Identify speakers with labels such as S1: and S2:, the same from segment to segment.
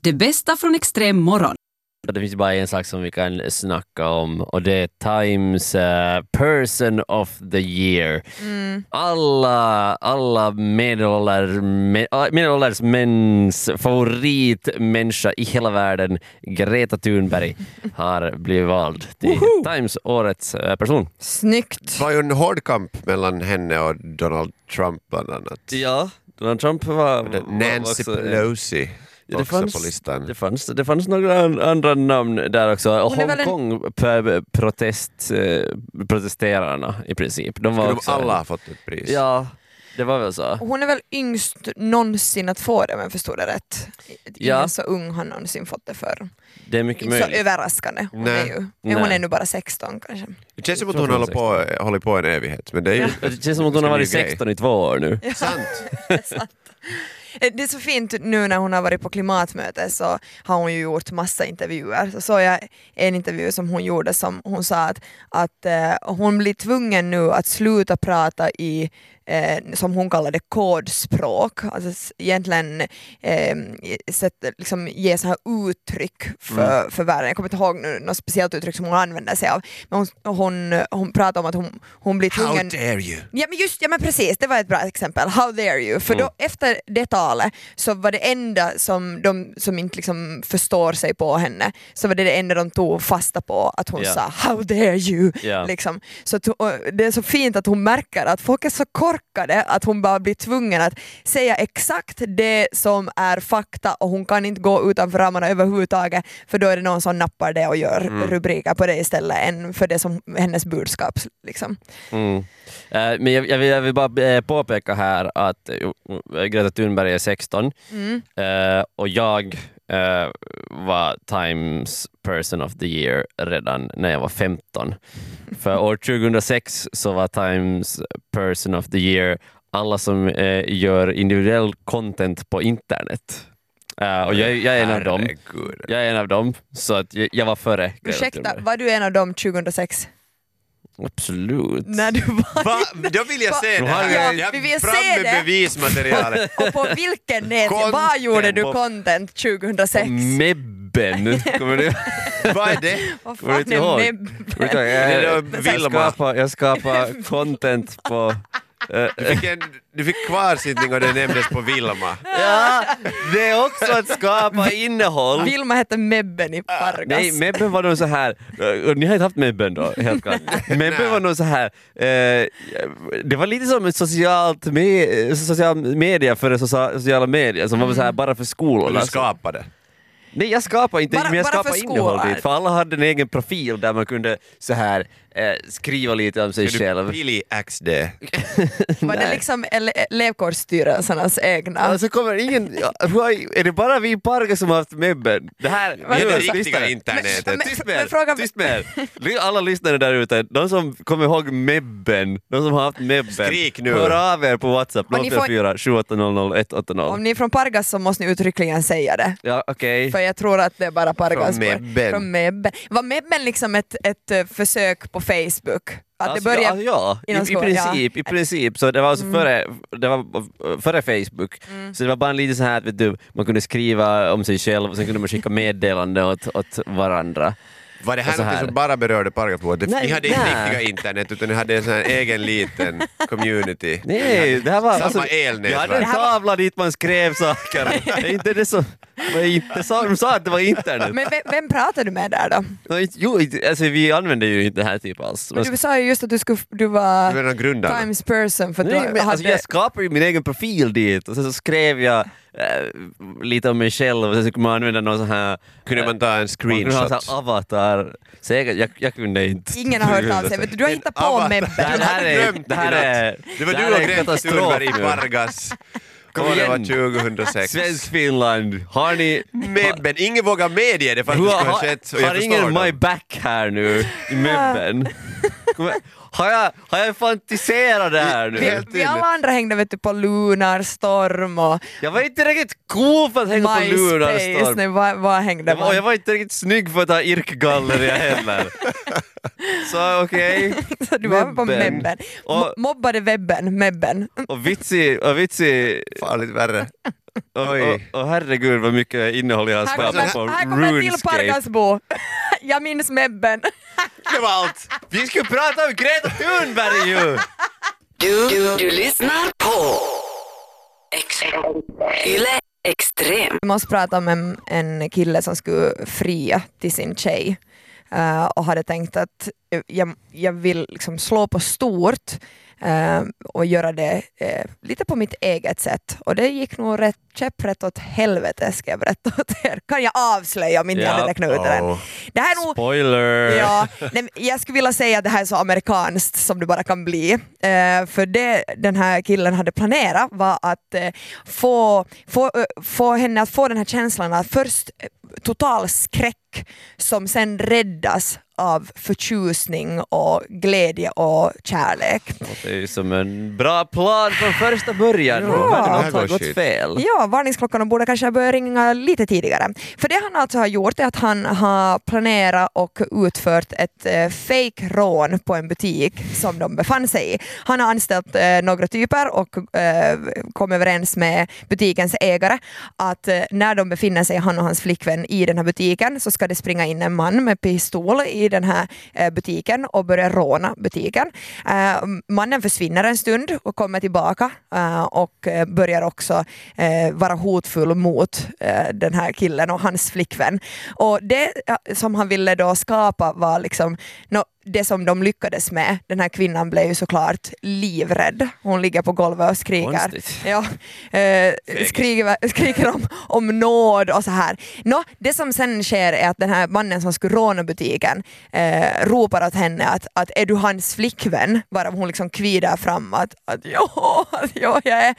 S1: Det bästa från extrem morgon.
S2: Det finns bara en sak som vi kan snacka om och det är Times eh, person of the year.
S3: Mm.
S2: Alla, alla medelålders, me- äh, medelålders mäns favoritmänniska i hela världen, Greta Thunberg, har blivit vald till Times årets eh, person.
S3: Snyggt.
S4: Det var ju en hård kamp mellan henne och Donald Trump bland annat.
S2: Ja, Donald Trump var...
S4: Det- Nancy Pelosi
S2: Ja, det
S4: också
S2: fanns-
S4: på listan.
S2: Det fanns, det fanns några an- andra namn där också.
S3: Hon är väl en-
S2: Hongkong-protesterarna eh, i princip. De var
S4: Skulle de
S2: också
S4: alla ha fått ett pris?
S2: Ja, det var väl så.
S3: Hon är väl yngst någonsin att få det om jag förstod det rätt. Ingen
S2: Ja.
S3: så ung har någonsin fått det förr.
S2: Det är mycket
S3: Inte så
S2: möjligt.
S3: överraskande. Hon
S4: Nej.
S3: är, ju, men hon
S2: Nej.
S3: är nu bara 16 kanske.
S4: Det känns som att
S2: Jag
S4: hon
S2: tror
S4: håller på, håller på en evighet, men det är ju...
S2: Det känns som att hon har varit 16 i två år nu.
S4: Sant!
S3: Eh, Det är så fint nu när hon har varit på klimatmöte så har hon ju gjort massa intervjuer. Så såg jag en intervju som hon gjorde som hon sa att, att eh, hon blir tvungen nu att sluta prata i eh, som hon kallade kodspråk, alltså s- egentligen eh, sätt, liksom, ge så här uttryck för, för världen. Jag kommer inte ihåg nu något speciellt uttryck som hon använder sig av, men hon, hon, hon pratar om att hon, hon blir
S4: How
S3: tvungen...
S4: dare you!
S3: Ja men just, ja men precis, det var ett bra exempel. How dare you? För
S2: Mm.
S3: då, efter det talet så var det enda som de som inte liksom förstår sig på henne, så var det det enda de tog fasta på att hon
S2: Ja.
S3: sa How dare you?
S2: Ja.
S3: Liksom. Så att, och det är så fint att hon märker att folk är så korkade att hon bara blir tvungen att säga exakt det som är fakta och hon kan inte gå utanför ramarna överhuvudtaget för då är det någon som nappar det och gör
S2: Mm.
S3: rubriker på det istället än för det som hennes budskap. Liksom.
S2: Mm. Eh, Men jag, jag, vill, jag vill bara eh, påpeka här att eh, Greta Thunberg är 16 eh, och jag eh, var Times person of the year redan när jag var 15. För år 2006 så var Times person of the year alla som eh, gör individuell content på internet. Eh, och jag, jag är en av dem.
S4: Herregud.
S2: Jag är en av dem, så att jag, jag var före Greta
S3: Ursäkta,
S2: Thunberg.
S3: var du en av dem 2006?
S2: Absolut.
S3: När du var
S4: Va? Då vill jag se
S2: Va?
S4: det här!
S3: Ja, vi vill
S4: Fram
S3: se
S4: med
S3: det.
S4: bevismaterialet!
S3: Och på vilken nät?
S4: Content.
S3: Var gjorde du content 2006?
S2: Mebben, kommer du
S4: Vad är det?
S3: Vad fan
S2: kommer du inte
S3: är
S2: ihåg?
S3: näbben?
S2: Vet du vad,
S4: Det är
S2: Eh, Jag,
S4: då
S2: jag,
S4: Vilma.
S2: skapar, jag skapar content på... eh,
S4: Du fick, en, du fick kvarsittning och det nämndes på Vilma.
S2: ja, det är också att skapa innehåll.
S3: Vilma hette Mebben i Pargas.
S2: Ah, Nej, Mebben var nog så här, och ni har inte haft Mebben då, helt klart. Mebben var nog så här, eh, det var lite som ett socialt me, social media före socia- sociala medier som var så
S3: Mm.
S2: här bara för skolorna.
S4: Du skapade.
S2: Nej, jag skapar inte,
S3: Bara-
S2: men jag
S3: bara
S2: skapar
S3: för
S2: innehåll
S3: skålar.
S2: dit, för alla hade en egen profil där man kunde så här eh, skriva lite om sig
S4: Är du
S2: själv.
S4: Pili XD?
S3: var det liksom ele- elevkårsstyrelsernas egna?
S2: Och så kommer ingen... ja, why- Är det bara vi i Parga som har haft mebben? Det här...
S4: Det är det
S2: Jonas,
S4: riktiga
S2: lyssnare.
S4: internetet.
S3: Men- men-
S2: Tyst med er,
S3: men fråga-
S2: tyst med er. Ly- Alla lyssnare där ute, de som kommer ihåg mebben, de som har haft mebben,
S4: Skrik nu.
S2: hör av er på WhatsApp
S3: Och ni får-
S2: 044 7800 180.
S3: Om ni är från Pargas så måste ni uttryckligen säga det.
S2: Ja, okej.
S3: För jag tror att det är bara Pargas.
S4: Från Mebben.
S3: Från Mebben. Var Mebben liksom ett, ett eh, försök på Facebook? Att det
S2: Alltså, ja,
S3: började...
S2: ja. I,
S3: innan
S2: i,
S3: skolan, ja. Mm.
S2: princip, i princip. Så det var, alltså före, det var eh, före Facebook, så det var bara lite så här att vet du, man kunde skriva om sig själv och sen kunde man skicka meddelanden åt, åt varandra.
S4: Var det här,
S2: Och så här.
S4: något som bara berörde Pargasbo?
S2: Nej,
S4: Ni hade inte
S2: nej.
S4: riktiga internet utan ni hade en sån här egen liten community.
S2: Nej, det här var...
S4: Samma
S2: alltså,
S4: elnät,
S2: jag hade
S4: va?
S2: en tavla dit man skrev saker. Det är inte det som, det var inte, sa- de sa att det var internet.
S3: Men vem, vem pratade du med där då?
S2: Men, inte- jo, inte- alltså, vi använder ju inte det här typ alls. Man
S3: Du sa ju just att du, skulle, du var
S4: Du var en av grundarna.
S3: Times person för att
S2: Nej,
S3: du
S2: men,
S3: hade...
S2: alltså, jag skapade ju min egen profil dit och sen så skrev jag eh, lite om mig själv och sen så kunde man använda någon sån här...
S4: Kunde man ta en
S2: Eh, Man kunde ha en
S4: screenshot?
S2: sån här avatar. Säkert, jag, jag kunde inte.
S3: Ingen har hört av sig. Vet Du, du har
S4: En
S3: hittat på
S4: avatar.
S3: Mebben.
S2: Det här, det här är...
S4: Glömt
S2: Det här är
S4: Det var
S2: här
S4: du och
S2: är
S4: Greta
S2: katastrof
S4: Thunberg i
S2: nu.
S4: Vargas.
S2: Kom
S4: Året var
S2: igen.
S4: 2006.
S2: Svensk Finland, har ni...
S4: Mebben, ingen vågar medge det för att det
S2: Hur-
S4: skulle ha
S2: har,
S4: skett. och jag
S2: har ingen
S4: förstår
S2: my
S4: dem.
S2: back här nu i mebben? Kommer- Har jag, har jag fantiserat det här
S3: Vi,
S2: nu?
S4: Helt
S3: vi
S4: tydligt.
S3: alla andra hängde vet du, på Lunarstorm och
S2: Jag var inte riktigt cool för att hänga på
S3: MySpace.
S2: Lunarstorm.
S3: Nej, vad, vad hängde
S2: Jag var, jag
S3: man?
S2: var inte riktigt snygg för att ha irkgalleria heller. Så okej.
S3: Så du var på
S2: Webben.
S3: mebben.
S2: Och,
S3: Mo- Mobbade webben, mebben.
S2: och vitsi, och vitsi,
S4: Fan lite värre.
S2: och, och,
S4: Oj.
S2: och herregud vad mycket innehåll jag har
S3: Här
S2: sparat på
S3: kommer, här kommer till
S2: RuneScape.
S3: Pargasbo. Jag minns mebben.
S2: Det var allt! Vi skulle prata om Greta Thunberg ju!
S5: Du, du, du lyssnar på Ex- Yle Extrem.
S3: Vi måste prata om en, en kille som skulle fria till sin tjej eh, och hade tänkt att eh, jag, jag vill liksom slå på stort eh, och göra det eh, lite på mitt eget sätt. Och det gick nog rätt, käpprätt åt helvete ska jag berätta åt er. Kan jag avslöja om inte jag
S2: Ja.
S3: hade räknat ut det än.
S4: Åh.
S3: Det här är nog
S2: Spoiler!
S3: Ja, nej, men jag skulle vilja säga att det här är så amerikanskt som det bara kan bli. Eh, för det den här killen hade planerat var att eh, få, få, eh, få henne att få den här känslan att först eh, total skräck som sen räddas av förtjusning och glädje och kärlek.
S2: Det är ju som en bra plan från första början.
S4: Ja.
S2: Men
S4: Det här
S2: Något har
S4: går
S2: gått
S4: shit.
S2: fel.
S3: Ja, varningsklockan och borde kanske ha börjat ringa lite tidigare. För det han alltså har gjort är att han har planerat och utfört ett eh, fake rån på en butik som de befann sig i. Han har anställt eh, några typer och eh, kom överens med butikens ägare att eh, när de befinner sig, han och hans flickvän, i den här butiken så ska det springa in en man med pistol i den här eh, butiken och börja råna butiken. Eh, mannen försvinner en stund och kommer tillbaka eh, och eh, börjar också eh, vara hotfull mot eh, den här killen och hans flickvän. Och det eh, som han ville då skapa var liksom nå, det som de lyckades med. Den här kvinnan blev ju såklart livrädd. Hon ligger på golvet och skriker.
S2: Konstigt.
S3: Ja, eh, skriker, skriker om, om nåd och så här. Nå, det som sen sker är att den här mannen som skulle råna butiken eh, ropar åt henne att, att är du hans flickvän? Varav hon liksom kvidar fram att, att ja, att ja jag är.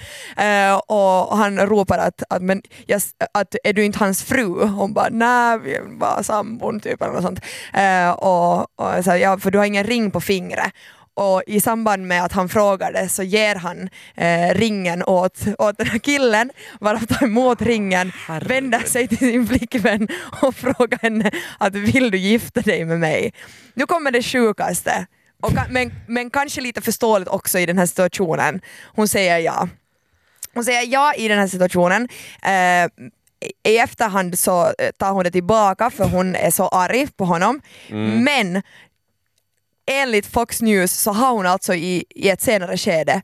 S3: Eh, och och han ropar att, att, men, jag, s- att är du inte hans fru? Hon bara nej, vi är bara sambon typ eller något sånt. Eh, och, och så här, ja, för du har ingen ring på fingret och i samband med att han frågade så ger han eh, ringen åt, åt den här killen, varav tar emot ringen, vänder sig till sin flickvän och frågar henne att vill du gifta dig med mig? Nu kommer det sjukaste, och, ka- men, men kanske lite förståeligt också i den här situationen. Hon säger ja. Hon säger ja i den här situationen. Eh, i efterhand så eh, tar hon det tillbaka för hon är så arg på honom.
S2: Mm.
S3: Men enligt Fox News så har hon alltså i, i ett senare skede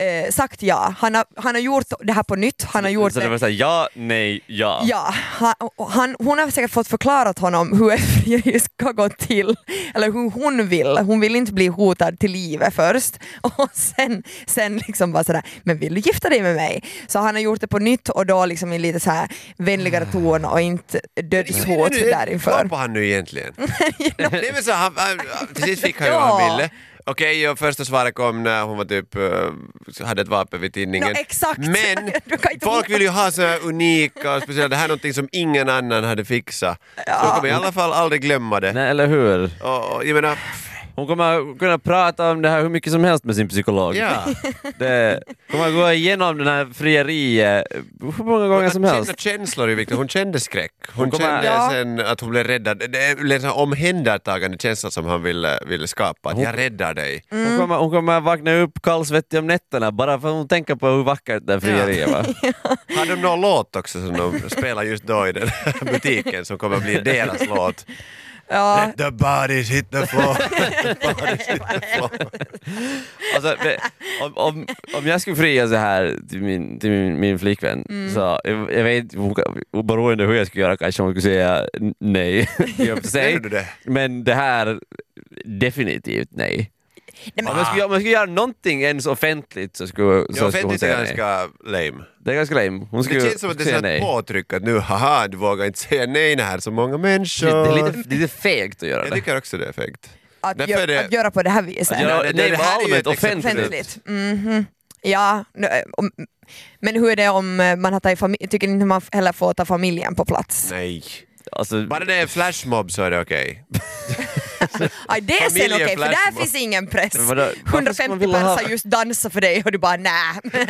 S3: eh, sagt ja. Han har, han har gjort det här på nytt. Han har gjort
S2: så det
S3: det.
S2: var såhär, ja, nej, ja.
S3: Ja, han, han, hon har säkert fått förklarat honom hur ett frieri ska gå till, eller hur hon vill. Hon vill inte bli hotad till livet först och sen, sen liksom bara sådär, men vill du gifta dig med mig? Så han har gjort det på nytt och då liksom i lite så här vänligare
S4: Ah.
S3: ton och inte dödshot därinför.
S4: Klappade han nu egentligen? Nej men så han, han, precis fick han ju vad
S3: Ja.
S4: han ville. Okej, och första svaret kom när hon var typ, eh, hade ett vapen vid tinningen.
S3: Nå, exakt.
S4: Men
S3: Du kan inte
S4: folk
S3: hota.
S4: vill ju ha så här unika och speciella, det här är någonting som ingen annan hade fixat. Så de kommer i alla fall aldrig glömma det.
S2: Nej, eller hur?
S4: Och, och, jag menar, pff,
S2: Hon kommer kunna prata om det här hur mycket som helst med sin psykolog.
S4: ja.
S2: Det kommer gå igenom den här frieriet hur många gånger som
S4: Att
S2: helst.
S4: Känna känslor är viktigt. Hon kände skräck. Hon,
S2: Hon kommer-
S4: kände
S3: Ja.
S4: sen att hon blev räddad. Det är en sån här omhändertagande känsla som han ville, ville skapa. Att jag räddar dig.
S2: Hon kommer, hon kommer vakna upp kallsvettig om nätterna bara för att hon tänker på hur vackert det här frieriet var.
S4: Har de någon låt också som de spelar just då i den här butiken som kommer att bli deras låt?
S3: Ja.
S4: The bodies hit the floor.
S2: Alltså, det- om, om, om jag skulle fria så här till min, till min, min flickvän, så jag, jag vet hon kan- oberoende hur jag skulle göra kanske hon skulle säga n- nej i och för sig.
S4: Gjorde du det?
S2: Men det här, definitivt nej.
S3: men-
S2: Om jag skulle, om jag skulle göra någonting ens offentligt så skulle,
S4: Ja,
S2: så skulle hon
S4: offentligt
S2: säga
S4: är
S2: nej.
S4: ganska lame.
S2: Det är ganska lame. Hon skulle,
S4: Det känns som att det
S2: skulle säga
S4: är
S2: nej.
S4: sånt påtryck att nu, haha, du vågar inte säga nej när här är så
S2: Det är
S4: många människor.
S2: lite, det är lite fegt att göra
S4: Jag
S2: det.
S4: tycker också det är fegt.
S3: att,
S4: Därför är
S3: gö-
S4: det-
S3: att göra på det här viset.
S2: Att göra,
S4: det- det-
S2: nej,
S4: det
S2: det
S4: här är ju
S2: allmänt,
S4: ett exempel.
S2: offentligt.
S3: Offentligt. Mhm. Ja, nu- eh, om- men hur är det om eh, man har tagit familj, tycker ni inte man heller får ta familjen på plats?
S4: Nej.
S2: Alltså,
S4: Bara det är flashmob så är det okej.
S3: Aj, det är sen okej,
S4: Familje-
S3: för där
S4: flashmob.
S3: finns ingen press.
S2: Men vadå, varför ska man
S3: 150
S2: vilja ha-
S3: personer just dansa för dig och du bara nä,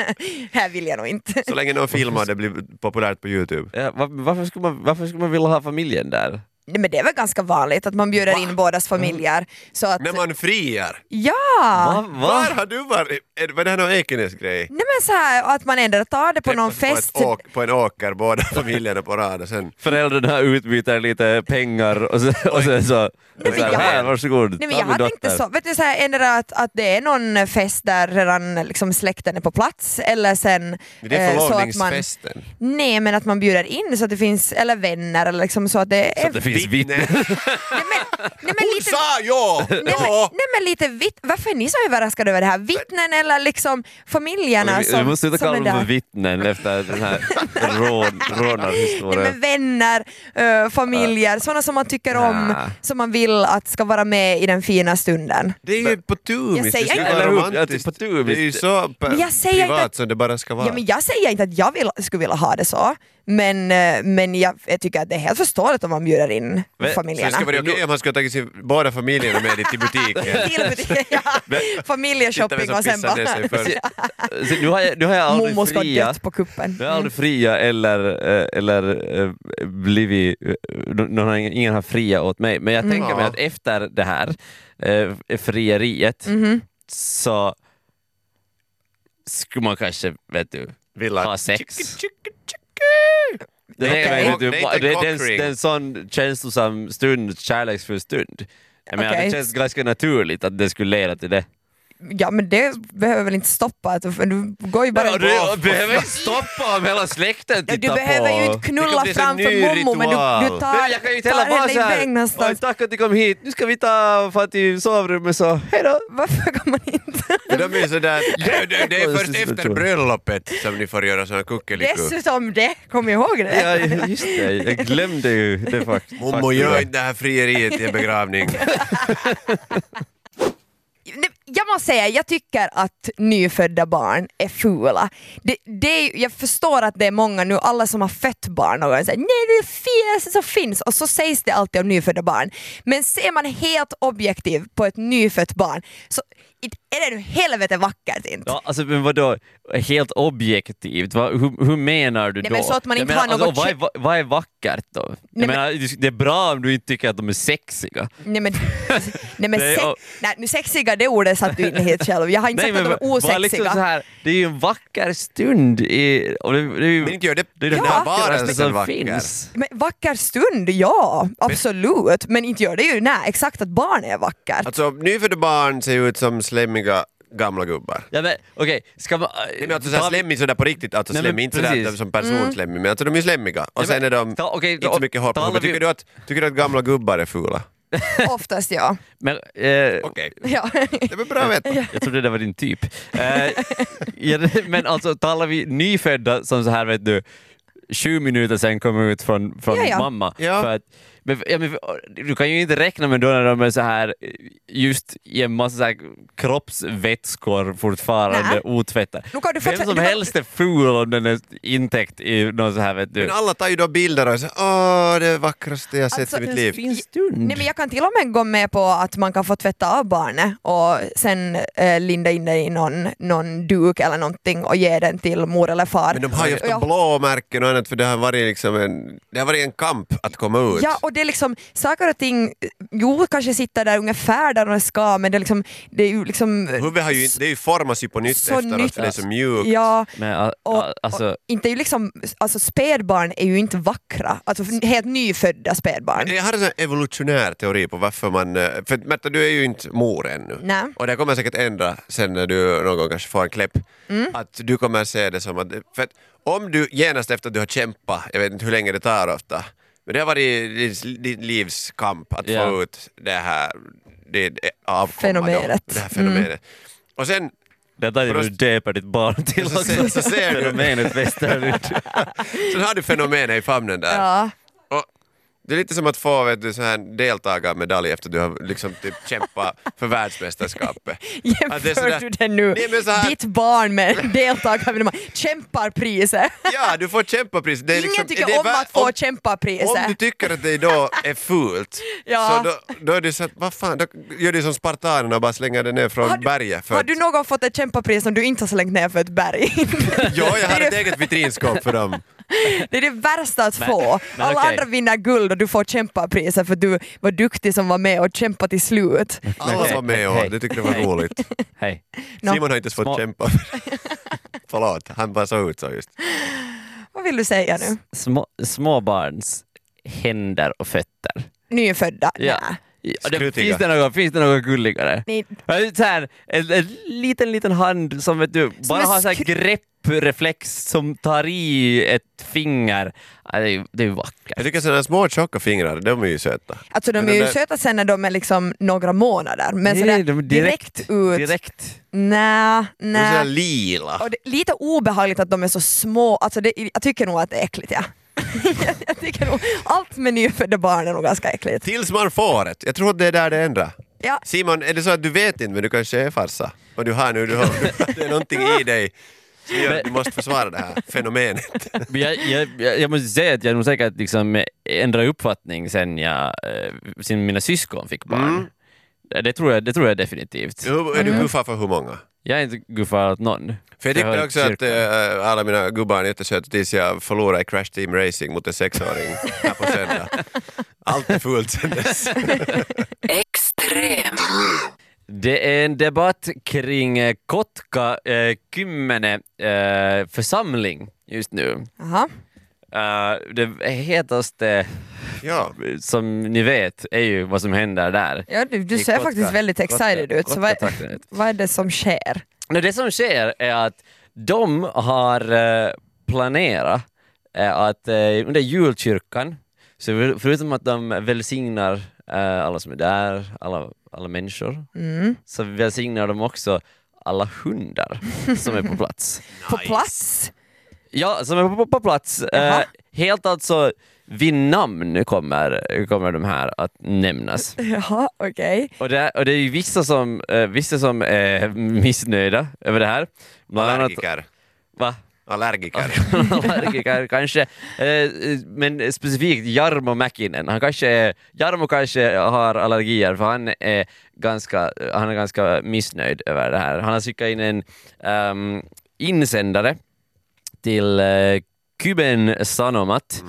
S3: här vill jag nog inte.
S4: Så länge någon filmar det blir populärt på Youtube.
S2: Ja, var, varför, skulle man, varför skulle man vilja ha familjen där?
S3: Nej, Men det är väl ganska vanligt att man bjuder in bådas
S2: Mm.
S3: familjer. Så att,
S4: När man friar.
S3: ja!
S2: Va?
S4: Var
S2: Va?
S4: har du varit? Är- Var det här någon Ekenäs-grej?
S3: Nej men så här, att man ändå tar det på någon
S4: Träffas
S3: fest.
S4: På, ett åk, på en åker, båda familjerna på rad och sen...
S2: Föräldrarna utbyter lite pengar och, så, och sen så...
S4: men
S2: så här,
S3: jag-
S2: här, varsågod,
S3: Nej, men
S2: ta
S3: jag
S2: min
S3: hade inte
S2: dotter."
S3: så. Vet du, så här, ändå att, att det är någon fest där redan liksom, släkten är på plats eller sen
S4: Det är
S3: eh, så att man...
S4: förlovningsfesten.
S3: Nej men att man bjuder in så att det finns, eller vänner eller liksom så att det är...
S2: Så att det finns vittnen.
S3: Nej, men, nej, men lite...
S4: Sa ja!
S3: Nej men,
S4: ja.
S3: nej men lite vitt, varför är ni så överraskade över det här? Vittnen eller liksom familjerna
S2: Vi, vi
S3: som,
S2: måste sluta
S3: som
S2: kalla
S3: är
S2: dem för
S3: där?
S2: vittnen efter den här rån,
S3: Nej, men
S2: rånarhistorien.
S3: vänner, eh, familjer, sådana som man tycker om,
S2: Ah.
S3: som man vill att ska vara med i den fina stunden.
S4: Det är ju på tumiskt,
S3: Jag
S4: det
S3: säger
S4: ska
S3: inte-
S4: vara
S2: Eller hur?
S4: romantiskt.
S2: Ja, det är på tumiskt.
S4: Det är ju så
S3: Men
S4: p-
S3: jag säger inte
S4: privat
S3: att-
S4: som det bara ska vara.
S3: Ja, men jag säger inte att jag vill, skulle vilja ha det så, men, eh, men jag, jag tycker att det är helt förståeligt om man bjuder in
S2: Men-
S4: Så det
S3: familjerna.
S4: ska vara okej om han skulle ha tagit sin, båda familjerna med dit till butiken.
S3: Till butik- ja,
S4: Titta vem
S3: Familjeshopping
S4: som
S3: och sen
S4: pissar ner sig
S3: bara...
S4: först.
S2: Så Nu har jag, nu har jag aldrig
S3: Mormor ska ha Mm.
S2: friat.
S3: dött på kuppen.
S2: Du har aldrig fria eller, eh, eller eh, blivit... eh, Någon, har- ingen har fria åt mig.
S3: Mm.
S2: Men jag tänker mig
S4: Ja.
S2: att efter det här eh, frieriet
S3: Mm-hmm.
S2: så skulle man kanske, vet du,
S4: Vill
S2: ha
S4: att-
S2: sex. Det
S4: Okej.
S2: är, okay.
S4: Det är inte en
S2: det, är en,
S4: cockring.
S2: det är en sån känslosam stund, kärleksfull stund. Jag menar,
S3: Okej.
S2: Det känns ganska naturligt att det skulle leda till det.
S3: Mm. Ja men det behöver väl inte stoppa, att du, du går ju bara...
S2: Ja, du behöver inte stoppa om hela släkten
S3: Ja,
S2: tittar
S3: du behöver
S2: på.
S3: ju inte
S4: Det kan
S3: knulla
S4: bli så
S3: framför
S4: ny
S3: mommo men du,
S4: ritual.
S2: Nej,
S3: du
S2: men
S3: tar,
S2: jag kan ju inte
S3: tar
S2: heller vara
S3: henne i
S2: såhär,
S3: bäng någonstans.
S2: "Oj, tack att du kom hit, nu ska vi ta för att i sovrummet så, hejdå.
S3: Varför kan man inte?
S4: Men de är sådär, det, det, det är först
S2: Konstigt,
S4: efter
S2: tror jag.
S4: bröllopet som ni får göra såna kuckeliku.
S3: Dessutom det, kom ihåg det.
S2: Ja, just det, jag glömde ju det faktiskt.
S4: Mommo gör inte det här frieriet till en begravning.
S3: Nej, Jag måste säga, jag tycker att nyfödda barn är fula. Det, det är, jag förstår att det är många nu, alla som har fött barn, någon gång säger nej det är det finaste som finns och så sägs det alltid om nyfödda barn. Men ser man helt objektivt på ett nyfött barn så it- är det nu helvete vackert inte.
S2: Ja, alltså, men vadå, helt objektivt, vad, hur, hur menar du
S3: Nej,
S2: då?
S3: men så att man
S2: Jag
S3: inte
S2: menar,
S3: har något
S2: alltså, vad, är, va- vad är vackert då? Jag
S3: men-
S2: menar, det är bra om du inte tycker att de är sexiga.
S3: Nej men, nej, men
S2: Nej,
S3: se,
S2: och-
S3: nej, nu sexiga det ordet satt du in helt själv. Jag har inte sagt att de är
S2: vad- vad
S3: osexiga.
S2: liksom så här, det är ju en vacker stund, i, och det, det är ju
S4: Men inte gör det,
S2: det är den
S3: Ja.
S2: ja,
S4: vardagen
S2: vackraste
S4: som
S2: som
S4: vacker.
S2: finns.
S3: Men vacker stund, ja absolut. Men inte gör det ju, nej exakt att barn är vackert.
S4: Alltså nyfödda barn ser ut som slemmiga gamla gubbar.
S2: Ja, men, okej, ska man... eh,
S4: Nej, men alltså såhär slemmig sådär på riktigt, alltså
S2: Nej, men
S4: slemmig, inte sådär
S2: precis. Mm.
S4: att de som person slemmig, men alltså de är ju slemmiga. Och
S2: men-
S4: sen är de
S2: Ta- okej,
S4: inte
S2: ta-
S4: så mycket hår på
S2: talar
S4: huvudet.
S2: vi-
S4: Tycker, du att- tycker du att gamla gubbar är fula?
S3: Oftast ja.
S2: men, eh,
S4: Okej,
S3: ja.
S4: det var bra att veta.
S2: Jag trodde det var din typ. Eh, ja, men alltså talar vi nyfödda som så här vet du, sju minuter sen kommer ut från, från
S3: Ja, ja.
S2: mamma.
S4: Ja.
S2: För att, men, ja, men, för- du kan ju inte räkna med då när de är så här eh, just i en massa så här, kroppsvätskor fortfarande
S3: Nej.
S2: otvättade.
S3: Nu kan du
S2: Vem
S3: fortfar-
S2: som
S3: du kan-
S2: helst är ful om den är intäkt i någon så här vet du.
S4: Men alla tar ju då bilder och säger åh det är det vackraste jag sett
S3: Alltså,
S4: i mitt liv.
S2: Fin stund.
S3: Nej, men jag kan till och med gå med på att man kan få tvätta av barnet och sen eh, linda in det i någon, någon duk eller någonting och ge den till mor eller far.
S4: Men de har ju
S3: Och jag-
S4: ofta blåmärken och annat för det har varit liksom en, det har varit en kamp att komma ut.
S3: Ja, och det är liksom saker och ting, jo kanske sitter där ungefär där de ska men det är, liksom, det är ju liksom...
S4: Huvudet har ju, det är ju formas ju på nytt
S3: Så
S4: efteråt
S3: nytt.
S4: för det är så mjukt.
S3: Ja,
S2: Men, a-
S3: och,
S2: a- alltså,
S3: och inte ju liksom, alltså spädbarn är ju inte vackra, alltså helt nyfödda spädbarn.
S4: Jag har en sån här evolutionär teori på varför man... eh, För att Märta, du är ju inte mor ännu.
S3: Nej.
S4: Och det kommer säkert ändra sen när du någon gång kanske får en kläpp.
S3: Mm.
S4: Att du kommer se det som att... För att om du genast efter att du har kämpat, jag vet inte hur länge det tar ofta, men det har varit ditt, ditt livs kamp att få
S2: Ja.
S4: ut det här det, det avkomma då,
S3: Fenomenet. Mm.
S4: Det här fenomenet. Och sen
S2: detta är det du
S4: bröst-
S2: döper ditt barn till
S4: Så ser-
S2: också.
S4: så ser du.
S2: Fenomenet västerut.
S4: Sen har du fenomenet i famnen där.
S3: Ja.
S4: Och det är lite som att få vet du, så här deltagarmedalj efter du har liksom typ kämpat för världsmästerskapet. Att det
S3: Jämför
S4: är sådär-
S3: du det nu?
S4: Nej, men så här-
S3: Ditt barn med deltagarna kämpar priset.
S4: Ja, du får kämpapris. Det är
S3: Ingen
S4: liksom,
S3: tycker
S4: det är
S3: om
S4: vä-
S3: att få
S4: om- Om du
S3: kämpapriset.
S4: tycker att det då är fult,
S3: Ja.
S4: så då, då är det så att, vad fan, då gör du som spartanerna och bara slänger det ner från
S3: Har du-
S4: berget. För
S3: Har du
S4: att-
S3: någon gång fått ett kämpapris som du inte har slängt ner för ett berg?
S4: ja, jag har
S3: Det är
S4: ett eget vitrinskåp för dem.
S3: Det är det värsta att få.
S2: men
S3: Alla
S2: okej.
S3: andra vinner guld och du får kämpapriset för du var duktig som var med och kämpade till slut.
S4: Alla var med och det tyckte det var
S2: Hej.
S4: roligt.
S2: Hej.
S3: Nå.
S4: Simon har inte ens fått
S2: Små-
S4: kämpa. Förlåt, han bara såg ut så just.
S3: Vad vill du säga nu?
S2: Små, småbarns händer och fötter.
S3: Nyfödda?
S2: Ja.
S3: Nä.
S2: Ja, det,
S4: Skrutiga.
S2: finns, det något, finns det något gulligare?
S3: Nej.
S2: Ja, det är Så här, en, en liten, liten hand som vet du, bara
S3: är
S2: har så här
S3: skru-
S2: greppreflex som tar i ett finger. Ja, det är- det är vackert.
S4: Jag tycker sådana små tjocka fingrar, de är ju söta.
S3: Alltså de
S4: Men
S3: är
S4: den
S3: ju
S4: där-
S3: söta sen när de är liksom några månader men sådär
S2: de är
S3: direkt, ut,
S2: Direkt.
S3: nä,
S4: De är sådär
S3: nä.
S4: lila.
S3: Och det, är lite obehagligt att de är så små, alltså det, jag tycker nog att det är äckligt ja. jag, jag tycker nog, allt med nyfödda barn är nog ganska äckligt.
S4: Tills man får ett. Jag tror att det är där det ändrar.
S3: Ja.
S4: Simon, är det så att du vet inte men du kanske är farsa? Och du har nu, du har, det är någonting i dig som gör att du måste försvara det här fenomenet.
S2: Men Jag, jag, jag, jag måste säga att jag nog säkert liksom ändrade uppfattning sen, jag, eh, sen mina syskon fick barn. Det tror jag, det tror jag definitivt.
S4: Hur, är du guffa för hur många?
S2: Jag är inte guffad åt någon.
S4: Mm. För jag
S2: har
S4: tycker
S2: ett
S4: också att
S2: kyrka.
S4: eh, alla mina gubbar är jättesöta tills jag förlorar i Crash Team Racing mot en sexåring här på söndag. Allt är fullt sen dess.
S5: extrem,
S2: Det är en debatt kring eh, Kotka eh, Kymmene eh, församling just nu.
S3: Aha.
S2: Eh, det hetaste eh,
S4: Ja.
S2: som ni vet är ju vad som händer där.
S3: Ja, du, du
S2: I
S3: ser
S2: Kotka.
S3: faktiskt väldigt excited
S2: Kotka-
S3: ut, så vad,
S2: Kotka-trakten.
S3: vad är det som sker?
S2: Nej, Det som sker är att de har eh, planerat eh, att eh, under julkyrkan, så för- förutom att de välsignar eh, alla som är där, alla, alla människor, så välsignar de också alla hundar som är på plats.
S3: På plats?
S2: Ja, som är på, på plats. Eh,
S3: Jaha.
S2: helt alltså vid namn kommer, kommer de här att nämnas.
S3: Jaha, okej.
S2: Och det, och det är ju vissa som, eh, vissa som är missnöjda över det här. Bland annat,
S4: Allergiker.
S2: va?
S4: Allergiker.
S2: allergiker kanske. Eh, eh, Men specifikt Jarmo Mäkinen. Han kanske är, Jarmo kanske har allergier för han är ganska, han är ganska missnöjd över det här. Han har skickat in en ehm, insändare till eh, Kuben Sanomat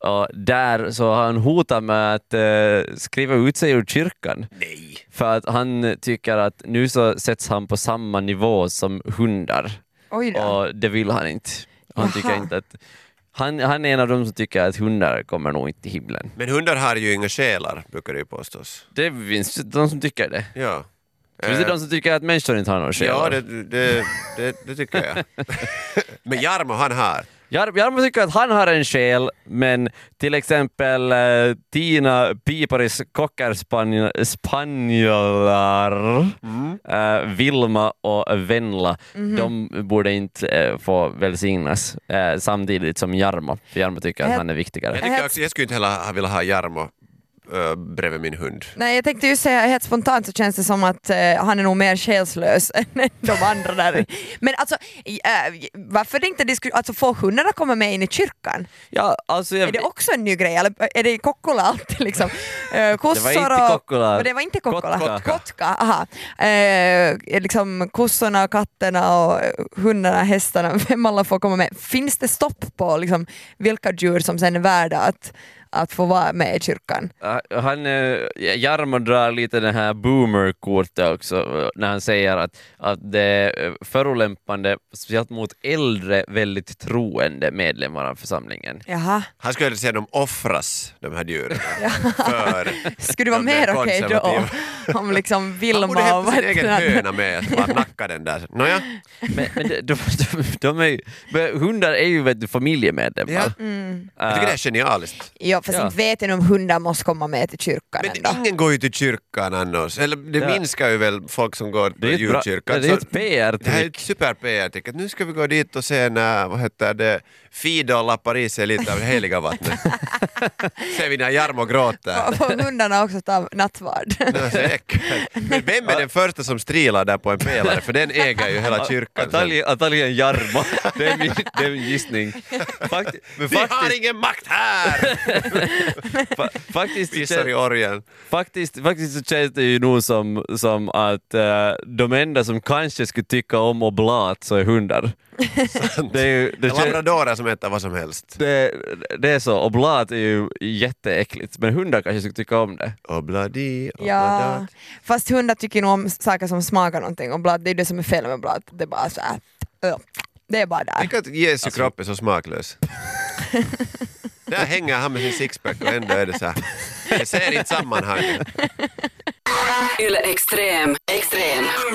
S2: och där så har han hotat med att eh, skriva ut sig ur kyrkan.
S4: Nej.
S2: För att han tycker att nu så sätts han på samma nivå som hundar.
S3: Oj då.
S2: Och det vill han inte. Han, tycker
S3: Jaha.
S2: inte att, han, han är en av de som tycker att hundar kommer nog inte till himlen.
S4: Men hundar har ju inga själar, brukar det ju påstås.
S2: Det finns de som tycker det.
S4: Ja.
S2: Finns det
S4: Eh,
S2: de som tycker att människor inte har någon själ?
S4: Ja, det, det, det, det tycker jag. Men Jarmo, han har.
S2: Jar- Jarmo tycker att han har en själ, men till exempel eh, Tina Piparis kockar spanj- spanjolar,
S4: Mm.
S2: eh, Vilma och Venla,
S3: Mhm.
S2: de borde inte eh, få välsignas eh, samtidigt som Jarmo. För Jarmo tycker att
S3: Jag-
S2: han är viktigare.
S4: Jag,
S3: Eh. Äh,
S4: tycker också, jag skulle inte heller ha- vilja ha Jarmo äh, bredvid min hund.
S2: Typ.
S3: Nej jag tänkte ju säga helt spontant så känns det som att eh, han är nog mer själslös än de andra där. Men alltså i- eh, varför det inte disku- alltså får hundarna komma med in i kyrkan?
S2: Ja, alltså jag,
S3: Är det också en ny grej eller är det i Kokkola alltid liksom? Eh,
S2: Det
S3: Kossor
S2: var inte
S3: och-
S2: Kokkola.
S3: Och det var inte Kokkola?
S2: Kotka.
S3: Kotka, aha. Eh, liksom kossorna, katterna och hundarna, hästarna, vem alla får komma med. Finns det stopp på liksom, vilka djur som sen är värda att, att få vara med i kyrkan?
S2: Uh, han, eh, Jarmo drar lite den här boomer-kortet också eh, när han säger att, att det är eh, förolämpande, speciellt mot äldre, väldigt troende medlemmar av församlingen.
S3: Jaha,
S4: Han skulle hellre se dem offras, de här djuren, för...
S3: skulle det vara
S4: De där
S3: mer okej då?
S4: konservativa.
S3: Om liksom
S4: Han borde
S3: Vilma och
S4: hämta
S3: vad
S4: sin egen
S3: heter han?
S4: höna med, att bara nacka den där. Nåja,
S2: Men, men de, de, de, de är, ju- men hundar är ju vet du, familjemedlemmar.
S4: Ja.
S2: Mm.
S4: jag tycker det är genialiskt.
S3: Ja, fast
S2: Ja.
S3: inte vet jag nu om hundar måste komma med till kyrkan ändå.
S4: Men ingen går ju till kyrkan annars, eller det
S2: Ja.
S4: minskar ju väl folk som går
S2: är
S4: till
S2: ett bra-
S4: julkyrkan.
S2: det är
S4: så-
S2: ett PR-trick.
S4: Det här är ett super PR-trick, att nu ska vi gå dit och se när, vad heter det, Fido lappar i sig lite av det heliga vattnet. Ser vi när Jarmo gråter.
S3: Och Får hundarna också ta nattvard?
S4: Ja, säkert. Men vem är den första som strilar där på en pelare? För den äger ju hela kyrkan. sen.
S2: Antagligen, antagligen Jarmo, det är min, det är min gissning. Fakt, men
S4: Vi
S2: faktiskt,
S4: har ingen makt här!
S2: Fa- faktiskt,
S4: Pissar i
S2: kän-
S4: orgen.
S2: faktiskt, faktiskt så känns det ju nog som, som att eh, de enda som kanske skulle tycka om att blat så är hundar. Det är ju, det,
S4: En
S2: kän-
S4: labradora som äter vad som helst.
S2: det, det är så, och blat är ju jätteäckligt, men hundar kanske skulle tycka om det.
S4: Obladi,
S3: Ja.
S4: obladat.
S3: Fast hundar tycker nog om saker som smakar någonting och blad, det är det som är fel med blad. Det är bara så här, ö. Det är bara där.
S4: Tänk att Jesu kropp är så smaklös. Där hänger han med sin sixpack och ändå är det så här. Jag ser inte sammanhanget.
S5: Yle Extrem. Extrem.